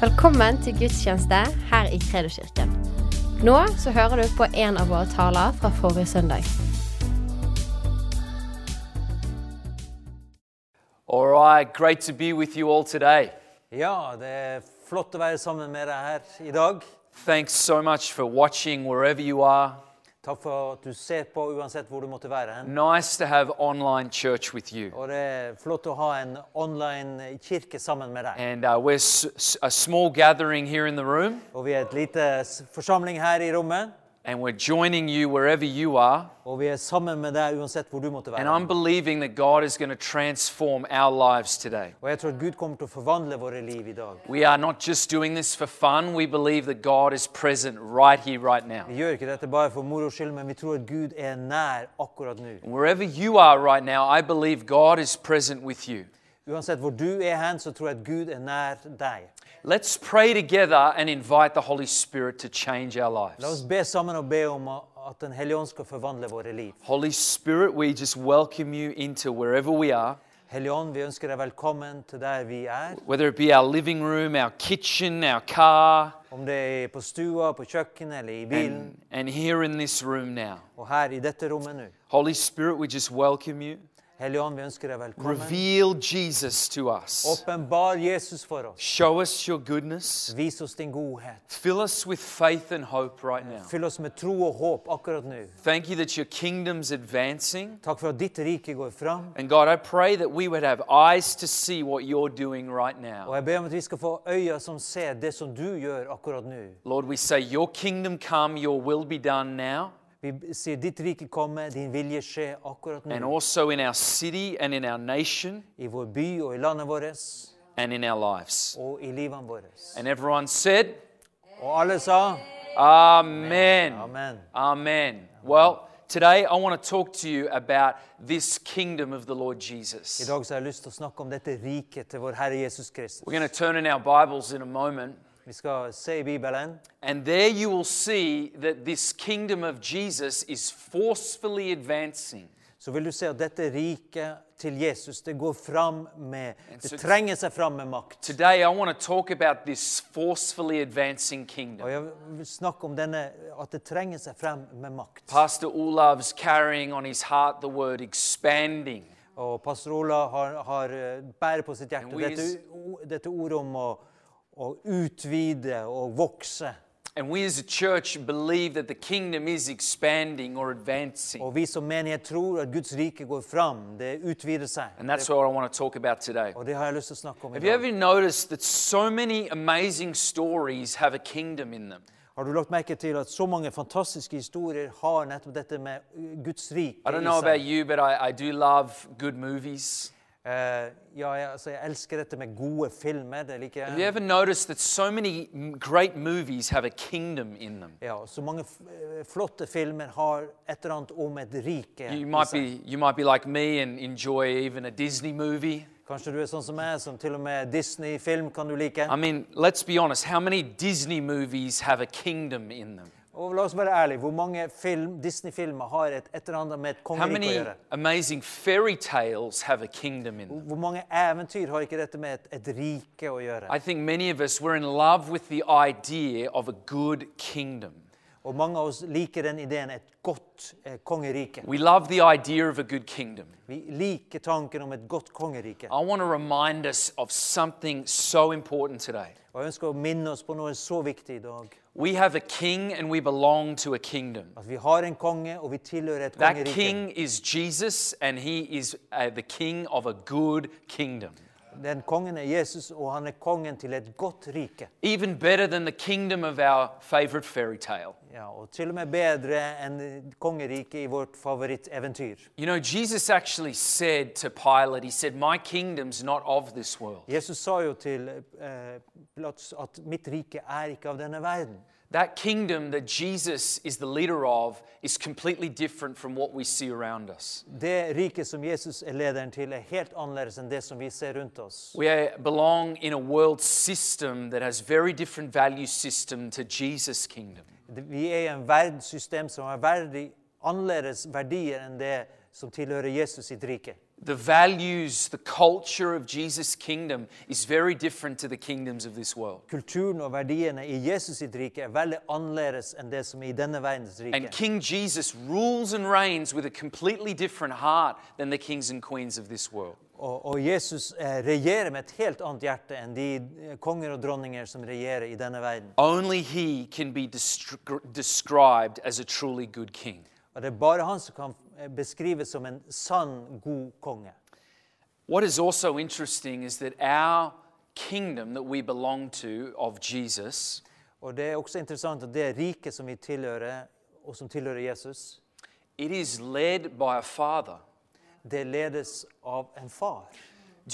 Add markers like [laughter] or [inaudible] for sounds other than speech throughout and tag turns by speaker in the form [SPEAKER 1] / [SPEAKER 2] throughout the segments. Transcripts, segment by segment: [SPEAKER 1] Velkommen til gudstjeneste her i Kredoskirken. Nå så hører du på en av våre taler fra forrige søndag.
[SPEAKER 2] All right, great to be with you all today.
[SPEAKER 3] Ja, det er flott å være sammen med deg her i dag.
[SPEAKER 2] Thanks so much for watching wherever you are.
[SPEAKER 3] Takk for at du ser på uansett hvor du måtte være hen.
[SPEAKER 2] Nice to have online church with you.
[SPEAKER 3] Og det er flott å ha en online kirke sammen med deg.
[SPEAKER 2] And uh, we're s- s- a small gathering here in the room,
[SPEAKER 3] Og vi er et lite s- forsamling her i rommet,
[SPEAKER 2] and we're joining you wherever you are.
[SPEAKER 3] og vi er sammen med deg uansett hvor du måtte
[SPEAKER 2] And
[SPEAKER 3] være.
[SPEAKER 2] I'm believing that God is going to transform our lives today.
[SPEAKER 3] Og jeg tror at Gud kommer til å forvandle våre liv i dag.
[SPEAKER 2] We are not just doing this for fun, we believe that God is present right here, right now.
[SPEAKER 3] Vi gjør ikke dette bare for moro skyld, men vi tror at Gud er nær akkurat nå.
[SPEAKER 2] Wherever you are right now, I believe God is present with you.
[SPEAKER 3] Uansett hvor du er hen, så tror jeg at Gud er nær deg.
[SPEAKER 2] Let's pray together and invite the Holy Spirit to change our
[SPEAKER 3] La oss
[SPEAKER 2] lives.
[SPEAKER 3] be sammen og be om at Den hellige ånd skal forvandle våre liv.
[SPEAKER 2] Holy Spirit, we just welcome you into wherever we are,
[SPEAKER 3] Hellige ånd, vi ønsker deg velkommen til der vi er.
[SPEAKER 2] whether it be our living room, our kitchen, our car,
[SPEAKER 3] Om det er på stua, på kjøkkenet eller i bilen.
[SPEAKER 2] and, and here in this room now.
[SPEAKER 3] Og her i dette rommet nå.
[SPEAKER 2] Holy Spirit, we just welcome you.
[SPEAKER 3] Hellige ånd, vi ønsker deg velkommen.
[SPEAKER 2] Reveal Jesus to
[SPEAKER 3] Oh.
[SPEAKER 2] us.
[SPEAKER 3] Åpenbar Jesus for oss.
[SPEAKER 2] Show us your goodness.
[SPEAKER 3] Vis oss din godhet.
[SPEAKER 2] Fill us with faith and hope right now.
[SPEAKER 3] Fyll oss med tro og håp akkurat nå.
[SPEAKER 2] Thank you that your kingdom's advancing.
[SPEAKER 3] Takk for at ditt rike går fram.
[SPEAKER 2] And God, I pray that we would have eyes to see what you're doing right now.
[SPEAKER 3] Og jeg ber om at vi skal få øyne som ser det som du gjør akkurat nå.
[SPEAKER 2] Lord, we say, Your kingdom come, Your will be done now,
[SPEAKER 3] Vi b- sier ditt rike komme, din vilje skje akkurat
[SPEAKER 2] and
[SPEAKER 3] nå.
[SPEAKER 2] also in our city and in our nation
[SPEAKER 3] I vår by og i landet vårt
[SPEAKER 2] and in our lives.
[SPEAKER 3] og i livene våre.
[SPEAKER 2] And everyone said,
[SPEAKER 3] Og alle sa
[SPEAKER 2] Amen.
[SPEAKER 3] amen.
[SPEAKER 2] Amen. Well, today I want to talk to you about this kingdom of the Lord
[SPEAKER 3] I
[SPEAKER 2] Jesus.
[SPEAKER 3] dag så har jeg lyst til å snakke om dette riket til vår Herre Jesus Kristus.
[SPEAKER 2] We're going to turn in our Bibles in a moment,
[SPEAKER 3] Vi skal se i Bibelen.
[SPEAKER 2] and there you will see that this kingdom of Jesus is forcefully advancing.
[SPEAKER 3] så vil du se at dette riket til Jesus, det går fram med
[SPEAKER 2] så-
[SPEAKER 3] Det trenger seg fram med makt.
[SPEAKER 2] Today I want to talk about this forcefully advancing kingdom.
[SPEAKER 3] Og jeg vil snakke om denne, at det trenger seg frem med makt.
[SPEAKER 2] Pastor Olav's carrying on his heart the word expanding.
[SPEAKER 3] Og pastor Ola har, har eh, bærer på sitt hjerte
[SPEAKER 2] And we
[SPEAKER 3] dette,
[SPEAKER 2] as-
[SPEAKER 3] o- dette ordet om å, å utvide og vokse.
[SPEAKER 2] And we as a church believe that the kingdom is expanding or advancing.
[SPEAKER 3] Og vi som menighet tror at Guds rike går fram. Det utvider seg.
[SPEAKER 2] And that's what I want to talk about today.
[SPEAKER 3] Og det har jeg lyst til å snakke om i
[SPEAKER 2] Have you
[SPEAKER 3] dag.
[SPEAKER 2] ever noticed that so many amazing stories have a kingdom in them?
[SPEAKER 3] Har du lagt merke til at så mange fantastiske historier har nettopp dette med eh, Guds
[SPEAKER 2] I
[SPEAKER 3] rike
[SPEAKER 2] don't
[SPEAKER 3] i
[SPEAKER 2] know
[SPEAKER 3] seg?
[SPEAKER 2] about you, but I, I do love good movies.
[SPEAKER 3] Eh, ja, jeg, altså, jeg elsker dette med gode filmer. Det liker
[SPEAKER 2] Have you
[SPEAKER 3] jeg.
[SPEAKER 2] ever noticed that so many m- great movies have a kingdom in them?
[SPEAKER 3] Ja, så mange f eh, flotte filmer har et eller annet om et rike. i
[SPEAKER 2] You might
[SPEAKER 3] seg.
[SPEAKER 2] be, you might be like me and enjoy even a Disney movie.
[SPEAKER 3] Kanskje du er sånn som meg, som til og med Disney-film kan du like.
[SPEAKER 2] I mean, let's be honest, how many Disney movies have a kingdom in them?
[SPEAKER 3] Og la oss være ærlige, hvor mange film, Disney-filmer har et, et eller annet med et
[SPEAKER 2] How
[SPEAKER 3] kongerike å
[SPEAKER 2] many
[SPEAKER 3] gjøre?
[SPEAKER 2] amazing fairy tales have a kingdom in them?
[SPEAKER 3] Hvor mange eventyr har ikke dette med et, et rike å gjøre?
[SPEAKER 2] I think many of us were in love with the idea of a good kingdom.
[SPEAKER 3] Og mange av oss liker den ideen, et godt eh, kongerike.
[SPEAKER 2] We love the idea of a good kingdom.
[SPEAKER 3] Vi liker tanken om et godt kongerike.
[SPEAKER 2] I want to remind us of something so important today.
[SPEAKER 3] Og jeg ønsker å minne oss på noe så viktig i dag.
[SPEAKER 2] We have a king and we belong to a kingdom.
[SPEAKER 3] At vi har en konge, og vi tilhører et
[SPEAKER 2] That
[SPEAKER 3] kongerike.
[SPEAKER 2] king is Jesus and he is uh, the king of a good kingdom.
[SPEAKER 3] Den kongen er Jesus, og han er kongen til et godt rike.
[SPEAKER 2] Even better than the kingdom of our favorite fairy tale.
[SPEAKER 3] Ja, og til og med bedre enn kongeriket i vårt favoritteventyr.
[SPEAKER 2] You know, Jesus actually said to Pilate, He said, My kingdom's not of this world.
[SPEAKER 3] Jesus sa jo til eh, Pilatus at 'mitt rike er ikke av denne verden'.
[SPEAKER 2] That kingdom that Jesus is the leader of is completely different from what we see around us.
[SPEAKER 3] Det riket som Jesus er lederen til, er helt annerledes enn det som vi ser rundt oss.
[SPEAKER 2] We uh, belong in a world system that has very different value system to Jesus' kingdom.
[SPEAKER 3] Det- Vi er i en verdenssystem som har verdi, annerledes verdier enn det som tilhører Jesus sitt rike.
[SPEAKER 2] The values, the culture of Jesus' kingdom is very different to the kingdoms of this world.
[SPEAKER 3] Kulturen og verdiene i Jesus sitt rike er veldig annerledes enn det som er i denne verdens
[SPEAKER 2] And
[SPEAKER 3] rike.
[SPEAKER 2] King Jesus rules and reigns with a completely different heart than the kings and queens of this world.
[SPEAKER 3] Og, og Jesus eh, regjerer med et helt annet hjerte enn de eh, konger og dronninger som regjerer i denne verden.
[SPEAKER 2] Only he can be destri- described as a truly good king.
[SPEAKER 3] Og det er bare han som kan eh, beskrives som en sann, god konge.
[SPEAKER 2] What is also interesting is that our kingdom that we belong to of Jesus
[SPEAKER 3] Og det er også interessant at det riket som vi tilhører, og som tilhører Jesus,
[SPEAKER 2] It is led by a father.
[SPEAKER 3] det ledes av en far.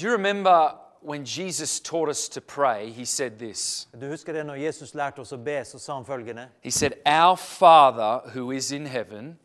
[SPEAKER 2] Do you remember when Jesus taught us to pray? He said this
[SPEAKER 3] Du husker det når Jesus lærte oss å be, så sa han følgende
[SPEAKER 2] He said, Our Father who is in heaven,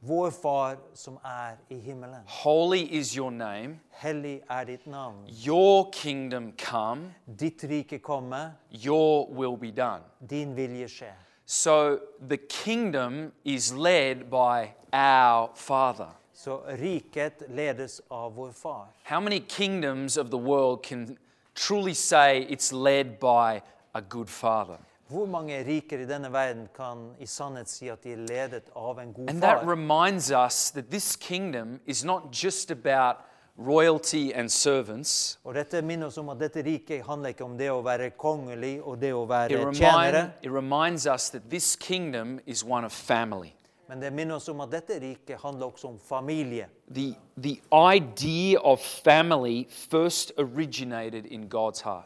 [SPEAKER 3] Vår Far som er i himmelen.
[SPEAKER 2] holy is your name,
[SPEAKER 3] Hellig er ditt navn.
[SPEAKER 2] your kingdom come,
[SPEAKER 3] Ditt rike komme,
[SPEAKER 2] your will be done.
[SPEAKER 3] din vilje skje.
[SPEAKER 2] So the kingdom is led by our Father.
[SPEAKER 3] Så riket ledes av vår Far.
[SPEAKER 2] How many kingdoms of the world can truly say it's led by a good Father?
[SPEAKER 3] Hvor mange riker i denne verden kan i sannhet si at de er ledet av en god
[SPEAKER 2] And that
[SPEAKER 3] far?
[SPEAKER 2] reminds us that this kingdom is not just about royalty and servants.
[SPEAKER 3] Og dette minner oss om at dette riket handler ikke om det å være kongelig og det å
[SPEAKER 2] It,
[SPEAKER 3] være tjenere,
[SPEAKER 2] remind, it reminds us that this kingdom is one of family.
[SPEAKER 3] men det minner oss om at dette riket handler også om familie.
[SPEAKER 2] The, the idea of family first originated in God's heart.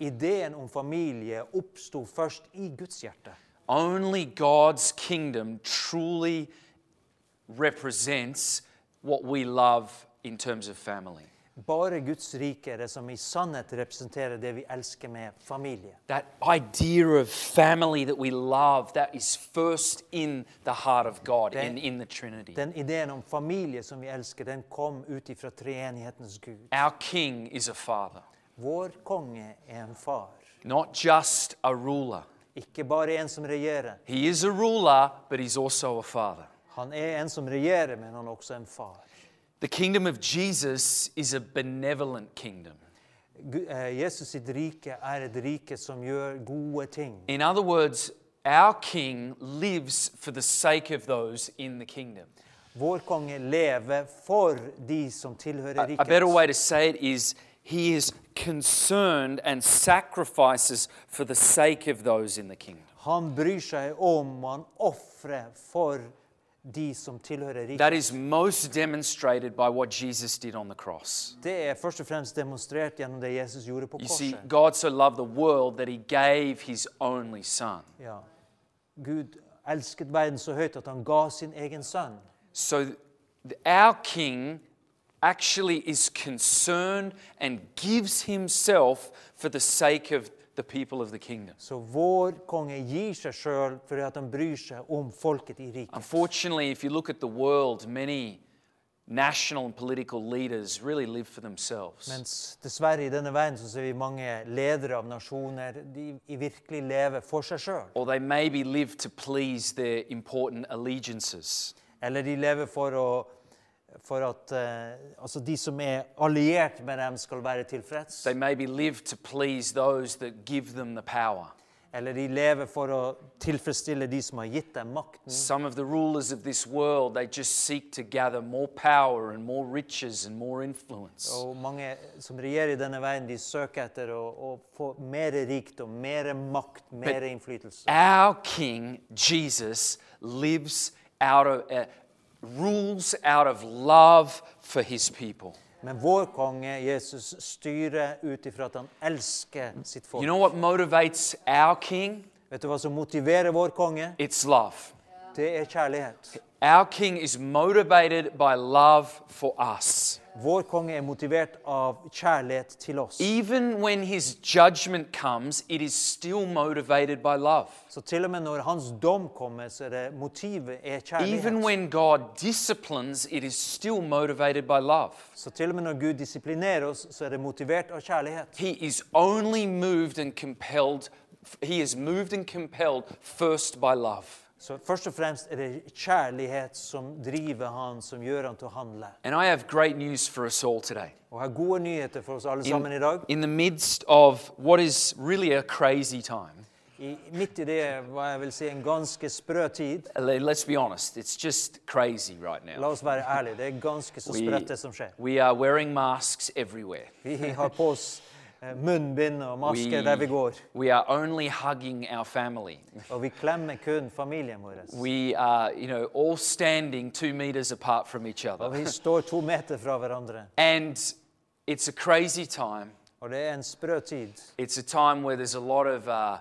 [SPEAKER 3] Ideen om familie oppsto først i Guds hjerte.
[SPEAKER 2] Only God's kingdom truly represents what we love in terms of family.
[SPEAKER 3] Bare Guds rike er det som i sannhet representerer det vi elsker med familie.
[SPEAKER 2] That idea of family that we love, that is first in the heart of God and in the Trinity.
[SPEAKER 3] Den ideen om familie som vi elsker, den kom ut ifra treenighetens Gud.
[SPEAKER 2] Our King is a father,
[SPEAKER 3] Vår konge er en far.
[SPEAKER 2] not just a ruler.
[SPEAKER 3] Ikke bare en som regjerer.
[SPEAKER 2] He is a ruler, but he's also a father.
[SPEAKER 3] Han er en som regjerer, men han er også en far.
[SPEAKER 2] The kingdom of Jesus is a benevolent kingdom.
[SPEAKER 3] Gu- eh, Jesus sitt rike er et rike som gjør gode ting.
[SPEAKER 2] In other words, our King lives for the sake of those in the kingdom.
[SPEAKER 3] Vår konge lever for de som tilhører
[SPEAKER 2] A better
[SPEAKER 3] riket.
[SPEAKER 2] way to say it is he is concerned and sacrifices for the sake of those in the kingdom.
[SPEAKER 3] Han bryr seg om, og han ofrer for de som tilhører riket.
[SPEAKER 2] That is most demonstrated by what Jesus did on the cross.
[SPEAKER 3] Det er først og fremst demonstrert gjennom det Jesus gjorde på
[SPEAKER 2] You see,
[SPEAKER 3] korset.
[SPEAKER 2] God so loved the world that he gave his only son.
[SPEAKER 3] Ja. Gud elsket verden så høyt at han ga sin egen sønn.
[SPEAKER 2] So th- our king actually is concerned and gives himself for the sake of the people of the kingdom.
[SPEAKER 3] Så vår konge gir seg sjøl fordi at han bryr seg om folket i riket.
[SPEAKER 2] Unfortunately, if you look at the world, many national and political leaders really live for themselves.
[SPEAKER 3] Mens dessverre i denne verden så ser vi mange ledere av nasjoner de i virkelig lever for seg sjøl.
[SPEAKER 2] Or they maybe live to please their important allegiances.
[SPEAKER 3] Eller de lever for å for at eh, altså de som er alliert med dem, skal være tilfreds.
[SPEAKER 2] They maybe live to please those that give them the power.
[SPEAKER 3] Eller de lever for å tilfredsstille de som har gitt dem makten.
[SPEAKER 2] Some of the rulers of this world, they just seek to gather more power and more riches and more influence.
[SPEAKER 3] Og mange som regjerer i denne verden, de søker etter å, å få mer rikdom, mer makt, mer innflytelse.
[SPEAKER 2] Our King Jesus lives out of, uh, rules out of love for his people.
[SPEAKER 3] Men vår konge, Jesus, styrer ut ifra at han elsker sitt folk.
[SPEAKER 2] You know what motivates our King?
[SPEAKER 3] Vet du hva som motiverer vår konge?
[SPEAKER 2] It's love.
[SPEAKER 3] Det er kjærlighet.
[SPEAKER 2] Our King is motivated by love for us.
[SPEAKER 3] Vår konge er motivert av kjærlighet til oss.
[SPEAKER 2] Even when his judgment comes, it is still motivated by love.
[SPEAKER 3] Så til og med når hans dom kommer, så er det motivet
[SPEAKER 2] Even
[SPEAKER 3] er kjærlighet.
[SPEAKER 2] when God disciplines, it is still motivated by love.
[SPEAKER 3] Så til og med når Gud disiplinerer oss, så er det motivert av kjærlighet.
[SPEAKER 2] He is only moved and compelled, he is moved and compelled first by love.
[SPEAKER 3] Så først og fremst er det kjærlighet som driver han, som gjør han til å handle.
[SPEAKER 2] And I have great news for us all today.
[SPEAKER 3] Og jeg har gode nyheter for oss alle
[SPEAKER 2] In,
[SPEAKER 3] sammen i dag.
[SPEAKER 2] in the midst of what is really a crazy time,
[SPEAKER 3] I, midt i det, hva jeg vil si, en ganske sprø tid.
[SPEAKER 2] Uh, le- let's be honest, it's just crazy right
[SPEAKER 3] La
[SPEAKER 2] now.
[SPEAKER 3] oss være ærlige, det er ganske så
[SPEAKER 2] We-
[SPEAKER 3] sprøtt det som skjer.
[SPEAKER 2] we are wearing masks everywhere.
[SPEAKER 3] Vi har på oss eh, munnbind og masker der vi går.
[SPEAKER 2] we are only hugging our family.
[SPEAKER 3] Og vi klemmer kun familien vår.
[SPEAKER 2] We are, you know, all standing two meters apart from each
[SPEAKER 3] Og
[SPEAKER 2] other.
[SPEAKER 3] vi står to meter fra hverandre.
[SPEAKER 2] And it's a crazy time.
[SPEAKER 3] Og det er en sprø tid.
[SPEAKER 2] It's a time where there's a lot of uh,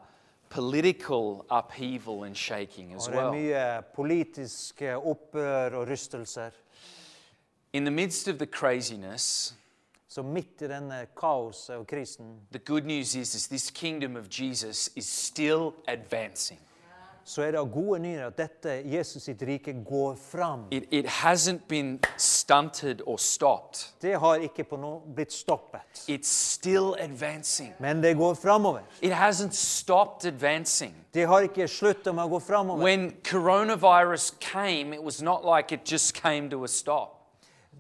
[SPEAKER 2] political upheaval and shaking as
[SPEAKER 3] Og det er
[SPEAKER 2] well.
[SPEAKER 3] mye politiske opprør og rystelser.
[SPEAKER 2] In the midst of the craziness,
[SPEAKER 3] Så midt i denne kaoset og krisen,
[SPEAKER 2] the good news is, is this kingdom of Jesus is still advancing.
[SPEAKER 3] så er det av gode nyheter at dette Jesus sitt rike går fram.
[SPEAKER 2] It, it hasn't been stunted or stopped.
[SPEAKER 3] Det har ikke på noe blitt stoppet.
[SPEAKER 2] It's still advancing.
[SPEAKER 3] Men det går framover.
[SPEAKER 2] It hasn't stopped advancing.
[SPEAKER 3] Det har ikke slutta med å gå framover.
[SPEAKER 2] When coronavirus came, it was not like it just came to a stop.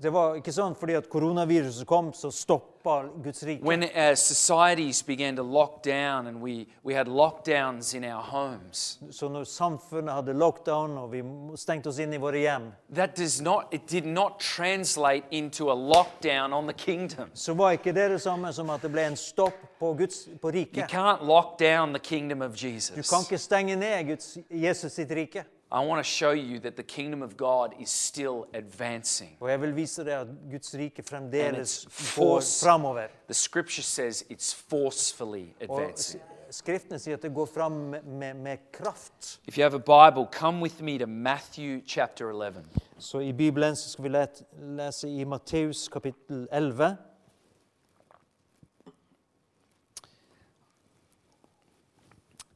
[SPEAKER 3] Det var ikke sånn fordi at koronaviruset kom, så stoppa Guds rike.
[SPEAKER 2] When uh, societies began to lock down and we, we had lockdowns in our homes,
[SPEAKER 3] Så når samfunnet hadde lockdown og vi stengte oss inn i våre hjem,
[SPEAKER 2] that does not, it did not translate into a lockdown on the kingdom.
[SPEAKER 3] så var ikke det det samme som at det ble en stopp på, Guds, på
[SPEAKER 2] You
[SPEAKER 3] riket.
[SPEAKER 2] can't lock down the kingdom of
[SPEAKER 3] Du
[SPEAKER 2] Jesus.
[SPEAKER 3] kan ikke stenge ned Guds, Jesus sitt rike.
[SPEAKER 2] I want to show you that the kingdom of God is still advancing.
[SPEAKER 3] Og jeg vil vise deg at Guds rike
[SPEAKER 2] And
[SPEAKER 3] fremdeles
[SPEAKER 2] it's
[SPEAKER 3] går
[SPEAKER 2] force-
[SPEAKER 3] framover.
[SPEAKER 2] The scripture says it's forcefully
[SPEAKER 3] Og s-
[SPEAKER 2] advancing.
[SPEAKER 3] skriftene sier at det går fram med, med, med kraft.
[SPEAKER 2] If you have a Bible, come with me to Matthew chapter 11.
[SPEAKER 3] Så i Bibelen så skal vi let, lese i Matteus kapittel 11.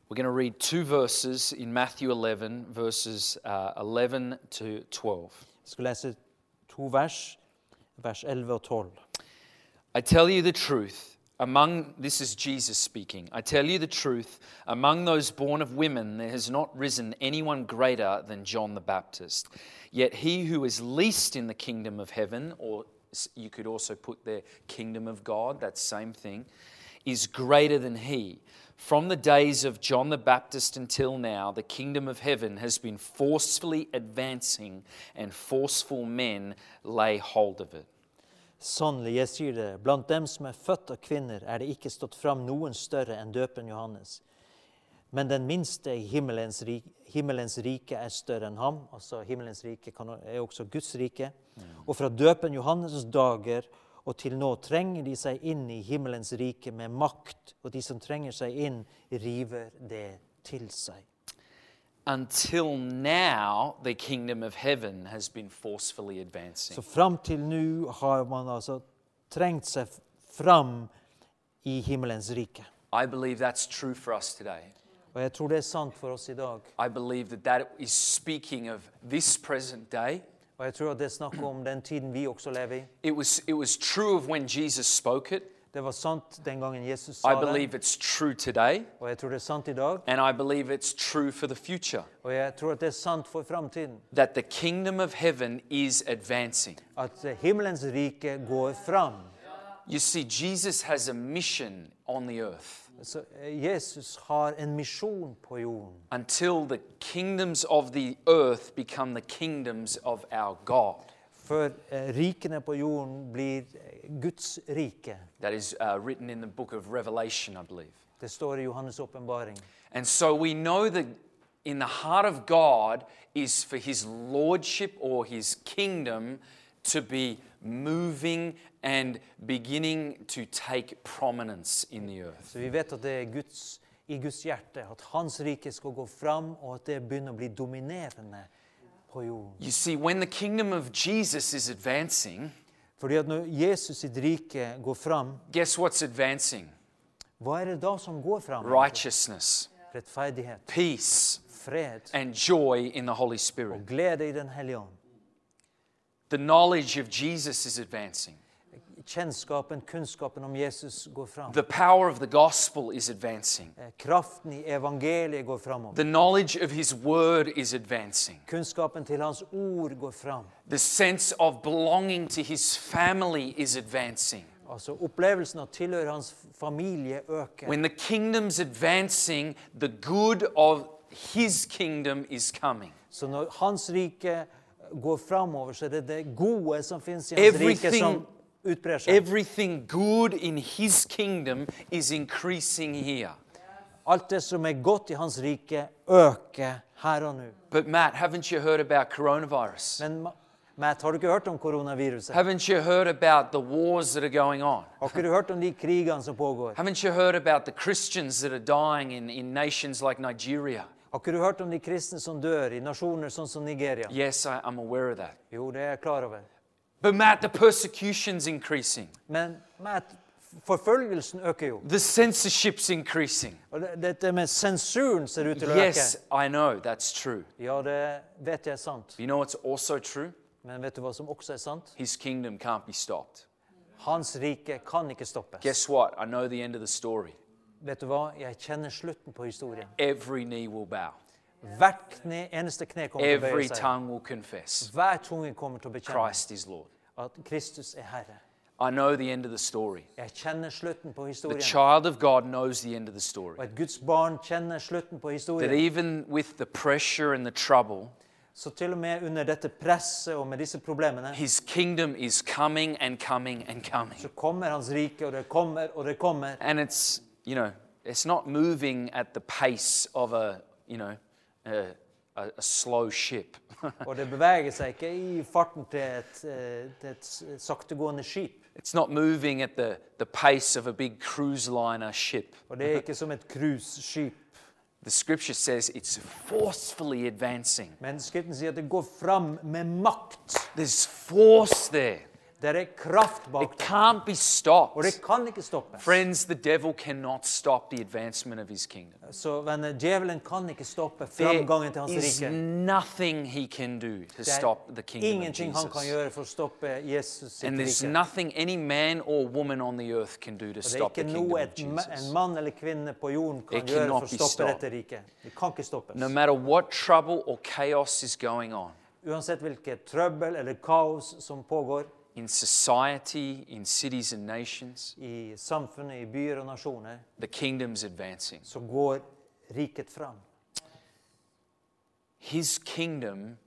[SPEAKER 2] We're going to read two verses in Matthew 11, verses uh, 11 to 12.
[SPEAKER 3] Jeg skal lese to vers, vers 11 og 12.
[SPEAKER 2] I tell you the truth, among this is Jesus speaking. I tell you the truth, among those born of women, there has not risen anyone greater than John the Baptist. Yet he who is least in the kingdom of heaven, or s- you could also put there kingdom of God, that same thing, is greater than he. From the days of John the Baptist until now, the kingdom of heaven has been forcefully advancing, and forceful men lay hold of it.
[SPEAKER 3] Sannelig, jeg sier dere, blant dem som er født av kvinner, er det ikke stått fram noen større enn døperen Johannes. Men den minste i himmelens rike, himmelens rike er større enn ham. Altså himmelens rike kan, er også Guds rike. Og fra døpen Johannes' dager og til nå trenger de seg inn i himmelens rike med makt, og de som trenger seg inn, river det til seg.
[SPEAKER 2] until now the kingdom of heaven has been forcefully advancing.
[SPEAKER 3] Så fram til nå har man altså trengt seg fram i himmelens rike.
[SPEAKER 2] I believe that's true for us today.
[SPEAKER 3] Og jeg tror det er sant for oss i dag.
[SPEAKER 2] I believe that that is speaking of this present day.
[SPEAKER 3] Og jeg tror at det er snakk om den tiden vi også lever i.
[SPEAKER 2] It was, it was true of when Jesus spoke it.
[SPEAKER 3] Det var sant den gangen Jesus sa
[SPEAKER 2] I
[SPEAKER 3] det,
[SPEAKER 2] believe it's true today,
[SPEAKER 3] og jeg tror det er sant i dag.
[SPEAKER 2] and I believe it's true for the future
[SPEAKER 3] Og jeg tror at det er sant for framtiden.
[SPEAKER 2] that the kingdom of heaven is advancing.
[SPEAKER 3] At himmelens rike går fram.
[SPEAKER 2] You see, Jesus has a mission on the earth.
[SPEAKER 3] Så eh, Jesus har en misjon på jorden.
[SPEAKER 2] Until the kingdoms of the earth become the kingdoms of our God.
[SPEAKER 3] For eh, rikene på jorden blir eh, Guds rike.
[SPEAKER 2] that is uh, written in the book of Revelation, I believe.
[SPEAKER 3] Det står i Johannes' åpenbaring.
[SPEAKER 2] And so we know that in the heart of God is for his lordship or his kingdom to be moving and beginning to take prominence in the earth.
[SPEAKER 3] Så vi vet at det er Guds, i Guds hjerte at hans rike skal gå fram, og at det begynner å bli dominerende på jorden.
[SPEAKER 2] You see, when the kingdom of Jesus is advancing,
[SPEAKER 3] Fordi at når Jesus sitt rike går fram,
[SPEAKER 2] guess what's advancing?
[SPEAKER 3] hva er det da som går fram?
[SPEAKER 2] Righteousness,
[SPEAKER 3] Rettferdighet,
[SPEAKER 2] peace,
[SPEAKER 3] fred
[SPEAKER 2] and joy in the Holy Spirit.
[SPEAKER 3] og glede i Den hellige ånd.
[SPEAKER 2] The knowledge of Jesus is advancing.
[SPEAKER 3] Kjennskapen, kunnskapen om Jesus går fram.
[SPEAKER 2] The power of the gospel is advancing.
[SPEAKER 3] Eh, Kraften i evangeliet går framover.
[SPEAKER 2] The knowledge of his word is advancing.
[SPEAKER 3] Kunnskapen til Hans ord går fram.
[SPEAKER 2] The sense of belonging to his family is advancing.
[SPEAKER 3] Altså Opplevelsen av å tilhøre hans familie øker.
[SPEAKER 2] When the kingdom's advancing, the good of his kingdom is coming.
[SPEAKER 3] Så når hans rike går framover, så er det det gode som finnes i hans rike,
[SPEAKER 2] Everything-
[SPEAKER 3] som utbrer seg.
[SPEAKER 2] Everything good in his kingdom is increasing here.
[SPEAKER 3] Alt det som er godt i hans rike, øker her og nå.
[SPEAKER 2] But Matt, haven't you heard about coronavirus?
[SPEAKER 3] Men Ma- Matt, har du ikke hørt om koronaviruset?
[SPEAKER 2] Haven't you heard about the wars that are going on?
[SPEAKER 3] Har ikke du hørt om de krigene som pågår?
[SPEAKER 2] Haven't you heard about the Christians that are dying in, in nations like Nigeria?
[SPEAKER 3] Har ikke du hørt om de kristne som dør i nasjoner sånn som Nigeria?
[SPEAKER 2] Yes, I, I'm aware of that.
[SPEAKER 3] Jo, det er jeg klar over.
[SPEAKER 2] But Matt, the persecution's increasing.
[SPEAKER 3] Men Matt, forfølgelsen øker jo.
[SPEAKER 2] The censorship's increasing.
[SPEAKER 3] Og det- dette med sensuren ser ut til å
[SPEAKER 2] Yes,
[SPEAKER 3] øke.
[SPEAKER 2] I know, that's true.
[SPEAKER 3] Ja, det vet jeg er sant.
[SPEAKER 2] You know what's also true?
[SPEAKER 3] Men vet du hva som også er sant?
[SPEAKER 2] His kingdom can't be stopped.
[SPEAKER 3] Hans rike kan ikke stoppes.
[SPEAKER 2] Guess what? I know the end of the story.
[SPEAKER 3] Vet du hva? Jeg kjenner slutten på historien.
[SPEAKER 2] Every knee will bow,
[SPEAKER 3] Hvert kne, eneste kne kommer til å
[SPEAKER 2] every
[SPEAKER 3] bøye seg.
[SPEAKER 2] tongue will confess
[SPEAKER 3] Hver tunge kommer til å bekjenne
[SPEAKER 2] Christ is Lord.
[SPEAKER 3] at Kristus er Herre.
[SPEAKER 2] I know the end of the story.
[SPEAKER 3] Jeg kjenner slutten på
[SPEAKER 2] The
[SPEAKER 3] historien.
[SPEAKER 2] child of God knows the end of the story.
[SPEAKER 3] Og et Guds barn kjenner slutten på
[SPEAKER 2] That
[SPEAKER 3] historien.
[SPEAKER 2] even with the pressure and the trouble,
[SPEAKER 3] Så til og med under dette presset og med disse problemene,
[SPEAKER 2] his kingdom is coming and coming and coming.
[SPEAKER 3] så kommer Hans rike, og det kommer, og det kommer.
[SPEAKER 2] And it's, you know, it's not moving at the pace of a, you know, a, a, a slow ship. [laughs]
[SPEAKER 3] Og det beveger seg ikke i farten til et, eh, til et s- saktegående skip.
[SPEAKER 2] it's not moving at the, the pace of a big cruise liner ship.
[SPEAKER 3] Og det er ikke som et cruiseskip.
[SPEAKER 2] The scripture says it's forcefully advancing.
[SPEAKER 3] Men Skriften sier at det går fram med makt.
[SPEAKER 2] There's force there.
[SPEAKER 3] Det er kraft bak
[SPEAKER 2] It
[SPEAKER 3] det.
[SPEAKER 2] can't be
[SPEAKER 3] Og
[SPEAKER 2] stopped.
[SPEAKER 3] det kan ikke stoppes.
[SPEAKER 2] Friends, the devil cannot stop the advancement of his kingdom.
[SPEAKER 3] Så venner, djevelen kan ikke stoppe
[SPEAKER 2] There
[SPEAKER 3] framgangen til Hans
[SPEAKER 2] is
[SPEAKER 3] rike.
[SPEAKER 2] nothing he can do to
[SPEAKER 3] Det
[SPEAKER 2] stop the
[SPEAKER 3] er
[SPEAKER 2] kingdom of
[SPEAKER 3] ingenting han kan
[SPEAKER 2] Jesus.
[SPEAKER 3] gjøre for å stoppe Jesus sitt
[SPEAKER 2] And there's
[SPEAKER 3] rike.
[SPEAKER 2] nothing any man or woman on the earth can do to
[SPEAKER 3] Og Det er
[SPEAKER 2] stop the
[SPEAKER 3] ikke
[SPEAKER 2] kingdom
[SPEAKER 3] noe
[SPEAKER 2] of
[SPEAKER 3] et, ma- en
[SPEAKER 2] Jesus.
[SPEAKER 3] mann eller kvinne på jorden kan
[SPEAKER 2] It
[SPEAKER 3] gjøre
[SPEAKER 2] cannot
[SPEAKER 3] for å
[SPEAKER 2] be
[SPEAKER 3] stoppe
[SPEAKER 2] stopped.
[SPEAKER 3] dette riket. Det kan ikke stoppes.
[SPEAKER 2] No matter what trouble or chaos is going on
[SPEAKER 3] Uansett hvilket trøbbel eller kaos som pågår
[SPEAKER 2] in society, in cities and nations,
[SPEAKER 3] i samfunnet, i byer og nasjoner,
[SPEAKER 2] the kingdom's advancing.
[SPEAKER 3] så går riket fram.
[SPEAKER 2] His kingdom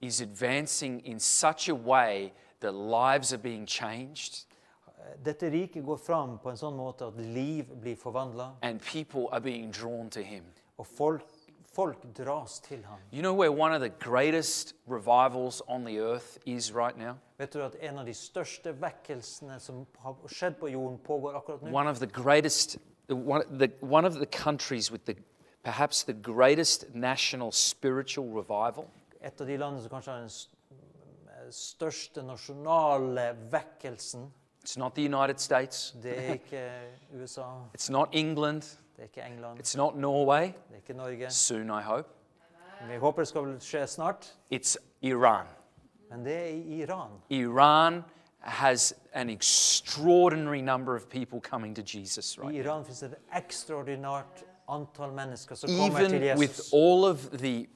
[SPEAKER 2] is advancing in such a way that lives are being changed
[SPEAKER 3] Dette riket går fram på en sånn måte at liv blir forvandla,
[SPEAKER 2] and people are being drawn to him.
[SPEAKER 3] og folk, folk dras til ham.
[SPEAKER 2] You know where one of the greatest revivals on the earth is right now?
[SPEAKER 3] Vet du at en av de største vekkelsene som har skjedd på jorden, pågår akkurat nå?
[SPEAKER 2] One of the greatest, one, the, one of the countries with the perhaps the greatest national spiritual revival
[SPEAKER 3] Et av de landene som kanskje har den s- største nasjonale vekkelsen.
[SPEAKER 2] It's not the United States.
[SPEAKER 3] Det er ikke USA,
[SPEAKER 2] It's not England.
[SPEAKER 3] det er ikke England,
[SPEAKER 2] It's not Norway.
[SPEAKER 3] det er ikke Norge.
[SPEAKER 2] Soon, I hope.
[SPEAKER 3] Vi håper det skal vel skje snart,
[SPEAKER 2] It's Iran.
[SPEAKER 3] men det er i Iran.
[SPEAKER 2] Iran has an extraordinary number of people coming to Jesus
[SPEAKER 3] I
[SPEAKER 2] right
[SPEAKER 3] Iran finnes et ekstraordinært antall mennesker som
[SPEAKER 2] now.
[SPEAKER 3] kommer til
[SPEAKER 2] Even with
[SPEAKER 3] Jesus.
[SPEAKER 2] all of the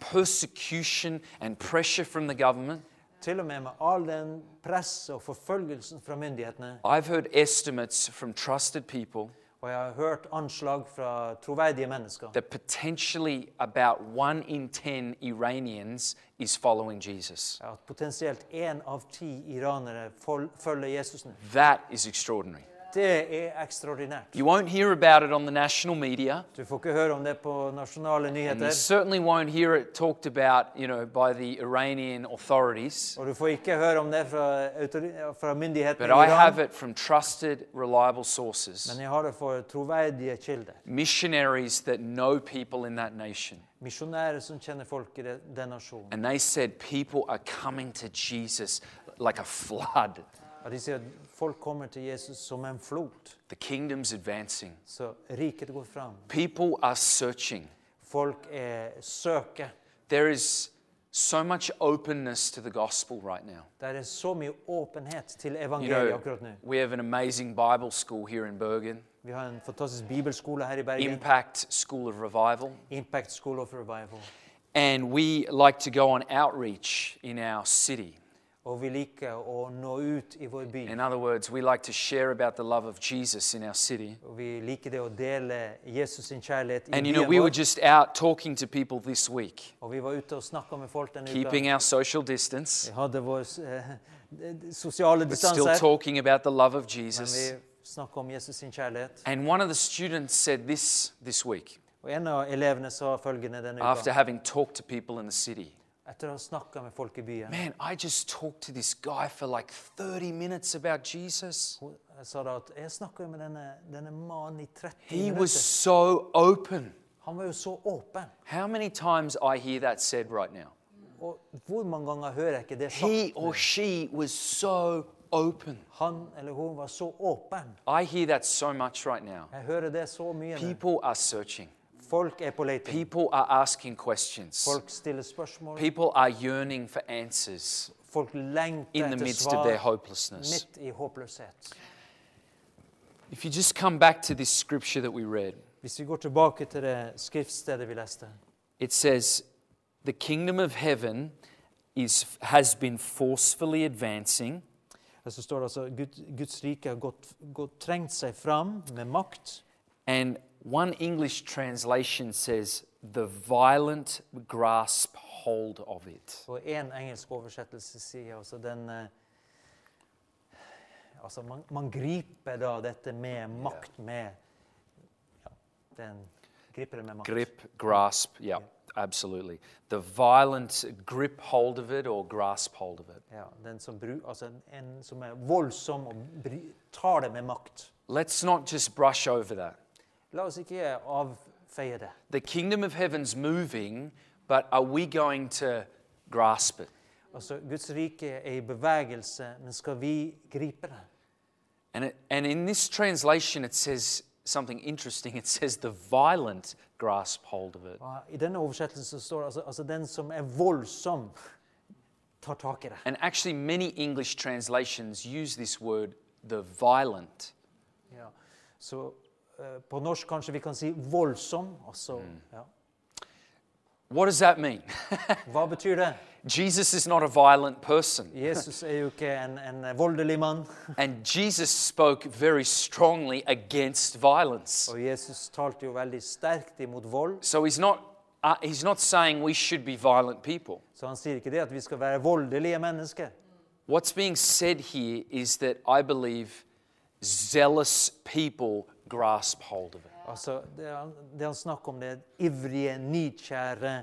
[SPEAKER 2] persecution and pressure from the government,
[SPEAKER 3] Til og med med all den presset og forfølgelsen fra myndighetene.
[SPEAKER 2] I've heard estimates from trusted people
[SPEAKER 3] Og jeg har hørt anslag fra troverdige mennesker
[SPEAKER 2] that potentially about one in 10 Iranians is following Jesus.
[SPEAKER 3] at potensielt én av ti iranere fol- følger Jesus nå.
[SPEAKER 2] That is extraordinary.
[SPEAKER 3] Det er ekstraordinært.
[SPEAKER 2] You won't hear about it on the national media.
[SPEAKER 3] Du får ikke høre om det på nasjonale
[SPEAKER 2] And you
[SPEAKER 3] nyheter.
[SPEAKER 2] certainly won't hear it talked about, you know, by the Iranian authorities.
[SPEAKER 3] Og du får ikke høre om det fra, autori- fra myndighetene
[SPEAKER 2] But I
[SPEAKER 3] i
[SPEAKER 2] have
[SPEAKER 3] Iran.
[SPEAKER 2] it from trusted, reliable sources,
[SPEAKER 3] Men jeg har det for troverdige kilder.
[SPEAKER 2] missionaries that know people in that nation.
[SPEAKER 3] Misjonærer som kjenner folk i de- den nasjonen.
[SPEAKER 2] And they said people are coming to Jesus like a flood.
[SPEAKER 3] Og de sier at folk kommer til Jesus som en flot.
[SPEAKER 2] The kingdom's advancing.
[SPEAKER 3] Så riket går fram.
[SPEAKER 2] People are searching.
[SPEAKER 3] Folk er søker.
[SPEAKER 2] There is so much openness to the gospel right now.
[SPEAKER 3] Det er så mye åpenhet til
[SPEAKER 2] You
[SPEAKER 3] evangeliet
[SPEAKER 2] know,
[SPEAKER 3] akkurat nå.
[SPEAKER 2] we have an amazing Bible school here in Bergen,
[SPEAKER 3] Vi har en fantastisk bibelskole her i Bergen.
[SPEAKER 2] Impact School of Revival.
[SPEAKER 3] Impact School of Revival.
[SPEAKER 2] And we like to go on outreach in our city.
[SPEAKER 3] Og vi liker å nå ut i vår by.
[SPEAKER 2] In other words, we like to share about the love of Jesus in our city.
[SPEAKER 3] Og vi liker det å dele Jesus sin kjærlighet i
[SPEAKER 2] And you know,
[SPEAKER 3] byen
[SPEAKER 2] we were
[SPEAKER 3] vår.
[SPEAKER 2] just out talking to people this week,
[SPEAKER 3] Og vi var ute og snakka med folk denne uka.
[SPEAKER 2] keeping our social distance,
[SPEAKER 3] Vi hadde vår eh, sosiale
[SPEAKER 2] but still
[SPEAKER 3] distanse.
[SPEAKER 2] talking about the love of
[SPEAKER 3] Men
[SPEAKER 2] Jesus.
[SPEAKER 3] vi snakka om Jesus sin kjærlighet.
[SPEAKER 2] And one of the students said this this week
[SPEAKER 3] Og en av elevene sa følgende denne
[SPEAKER 2] after
[SPEAKER 3] uka.
[SPEAKER 2] having talked to people in the city
[SPEAKER 3] Etter å ha snakka med folk i byen,
[SPEAKER 2] Man, I just talked to this guy for like 30 minutes about Jesus.
[SPEAKER 3] hun sa da at jeg snakka jo med denne, denne mannen i 30
[SPEAKER 2] He was
[SPEAKER 3] minutter.
[SPEAKER 2] so open.
[SPEAKER 3] Han var jo så åpen.
[SPEAKER 2] How many times I hear that said right now?
[SPEAKER 3] Og hvor mange ganger hører jeg ikke det
[SPEAKER 2] He
[SPEAKER 3] sagt?
[SPEAKER 2] or she was so open.
[SPEAKER 3] Han eller hun var så åpen.
[SPEAKER 2] I hear that so much right now.
[SPEAKER 3] Jeg hører det så mye. nå.
[SPEAKER 2] People are searching.
[SPEAKER 3] Folk er på leting.
[SPEAKER 2] People are asking questions.
[SPEAKER 3] Folk stiller spørsmål.
[SPEAKER 2] People are yearning for answers
[SPEAKER 3] Folk lengter
[SPEAKER 2] in the
[SPEAKER 3] etter
[SPEAKER 2] midst of their
[SPEAKER 3] svar
[SPEAKER 2] hopelessness.
[SPEAKER 3] midt i håpløshet.
[SPEAKER 2] If you just come back to this scripture that we read,
[SPEAKER 3] Hvis vi går tilbake til det skriftstedet vi leste,
[SPEAKER 2] it says, The kingdom of heaven is, has been forcefully advancing.
[SPEAKER 3] her så står det altså Gud, Guds rike har gått, gått, trengt seg fram med makt.
[SPEAKER 2] And one English translation says, the violent grasp hold of it.
[SPEAKER 3] Og én engelsk oversettelse sier altså den eh, Altså, man, man griper da dette med makt, med ja, Den griper det med makt.
[SPEAKER 2] Grip, grasp, yeah, absolutely. The violent grip hold of it or grasp hold of it.
[SPEAKER 3] Ja, den som bru, altså en, en som er voldsom og bry, tar det med makt.
[SPEAKER 2] Let's not just brush over that.
[SPEAKER 3] La oss ikke avfeie det.
[SPEAKER 2] The kingdom of heaven's moving, but are we going to grasp it?
[SPEAKER 3] Altså, Guds rike er i bevegelse, men skal vi gripe det?
[SPEAKER 2] And, it, and in this translation, it says something interesting. It says the violent grasp hold of it.
[SPEAKER 3] Og I denne oversettelsen så står det altså, altså den som er voldsom, tar tak i det.
[SPEAKER 2] And actually, many English translations use this word, the violent.
[SPEAKER 3] Ja. Så eh, på norsk kanskje vi kan si voldsom. Altså, ja.
[SPEAKER 2] What does that mean? [laughs]
[SPEAKER 3] Hva betyr det?
[SPEAKER 2] Jesus is not a violent person.
[SPEAKER 3] Jesus er jo ikke en, en voldelig mann.
[SPEAKER 2] And Jesus spoke very strongly against violence.
[SPEAKER 3] Og Jesus talte jo veldig sterkt imot vold,
[SPEAKER 2] So he's not, uh, he's not saying we should be violent people.
[SPEAKER 3] så han sier ikke det at vi skal være voldelige mennesker.
[SPEAKER 2] What's being said here is that I believe zealous people grasp hold of it.
[SPEAKER 3] Altså, det, han, det han snakker om, det er ivrige, nidkjære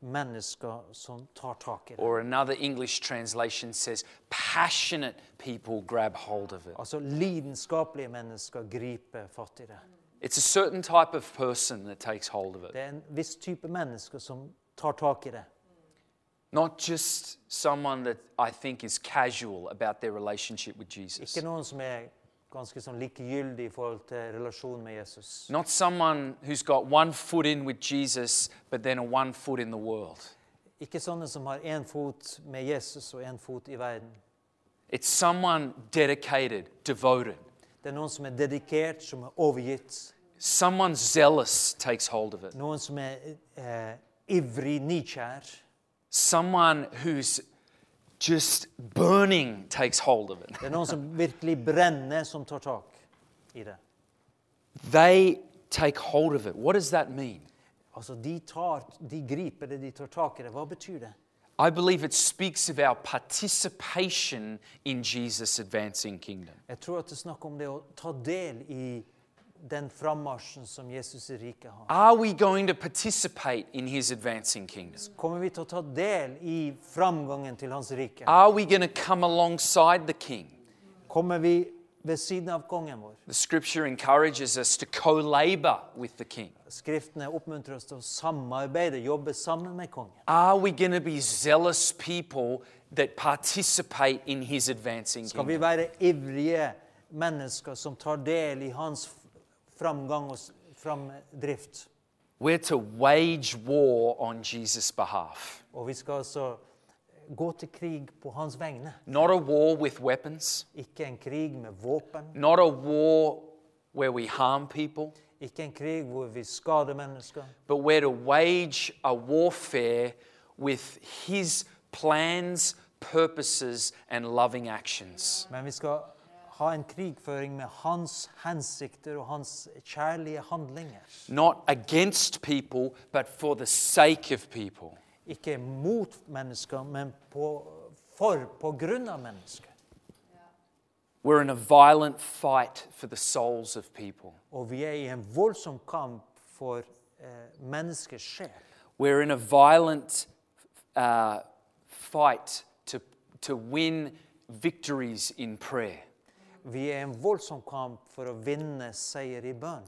[SPEAKER 3] mennesker som tar tak i det.
[SPEAKER 2] Or another English translation says passionate people grab hold of it.
[SPEAKER 3] Altså lidenskapelige mennesker griper fatt i det.
[SPEAKER 2] It's a certain type of person that takes hold of it,
[SPEAKER 3] Det er en viss type mennesker som tar tak i det.
[SPEAKER 2] not just someone that I think is casual about their relationship with Jesus.
[SPEAKER 3] Ikke noen som er ganske sånn likegyldig i forhold til relasjonen med Jesus.
[SPEAKER 2] Not someone who's got one foot in with Jesus, but then a one foot in the world.
[SPEAKER 3] Ikke sånne som har én fot med Jesus og én fot i verden.
[SPEAKER 2] It's someone dedicated, devoted.
[SPEAKER 3] Det er noen som er dedikert, som er overgitt.
[SPEAKER 2] Someone zealous takes hold of it.
[SPEAKER 3] Noen som er eh, ivrig, nidkjær.
[SPEAKER 2] Someone who's just burning takes hold of it.
[SPEAKER 3] Det er noen som virkelig brenner, som tar tak i det.
[SPEAKER 2] They take hold of it. What does that mean?
[SPEAKER 3] Altså, de, tar, de griper det, de tar tak i det. Hva betyr det?
[SPEAKER 2] I believe it speaks of our participation in Jesus' advancing kingdom.
[SPEAKER 3] Jeg tror at det er snakk om det å ta del i den frammarsjen som Jesus i riket har.
[SPEAKER 2] Are we going to participate in his advancing kingdom?
[SPEAKER 3] Kommer vi til å ta del i framgangen til Hans rike?
[SPEAKER 2] Are we going to come alongside the king?
[SPEAKER 3] Kommer vi ved siden av kongen vår?
[SPEAKER 2] The scripture encourages us to co labor with the king.
[SPEAKER 3] Skriftene oppmuntrer oss til å samarbeide, jobbe sammen med kongen.
[SPEAKER 2] Are we going to be zealous people that participate in his advancing
[SPEAKER 3] Skal vi
[SPEAKER 2] kingdom?
[SPEAKER 3] være ivrige mennesker som tar del i hans f- framgang og s- framdrift?
[SPEAKER 2] We're to wage war on Jesus' behalf.
[SPEAKER 3] Og vi skal altså gå til krig på hans vegne.
[SPEAKER 2] Not a war with weapons,
[SPEAKER 3] Ikke en krig med våpen,
[SPEAKER 2] not a war where we harm people,
[SPEAKER 3] ikke en krig hvor vi skader mennesker,
[SPEAKER 2] but we're to wage a warfare with His plans, purposes, and loving actions.
[SPEAKER 3] men vi skal ha en krigføring med hans hensikter og hans kjærlige handlinger.
[SPEAKER 2] Not against people, but for the sake of people.
[SPEAKER 3] Ikke mot mennesker, men på, for, på grunn av mennesker.
[SPEAKER 2] We're in a violent fight for the souls of people.
[SPEAKER 3] Og vi er i en voldsom kamp for eh, menneskers sjel.
[SPEAKER 2] We're in a violent uh, fight to, to win victories in prayer.
[SPEAKER 3] Vi er i en voldsom kamp for å vinne seier i bønn.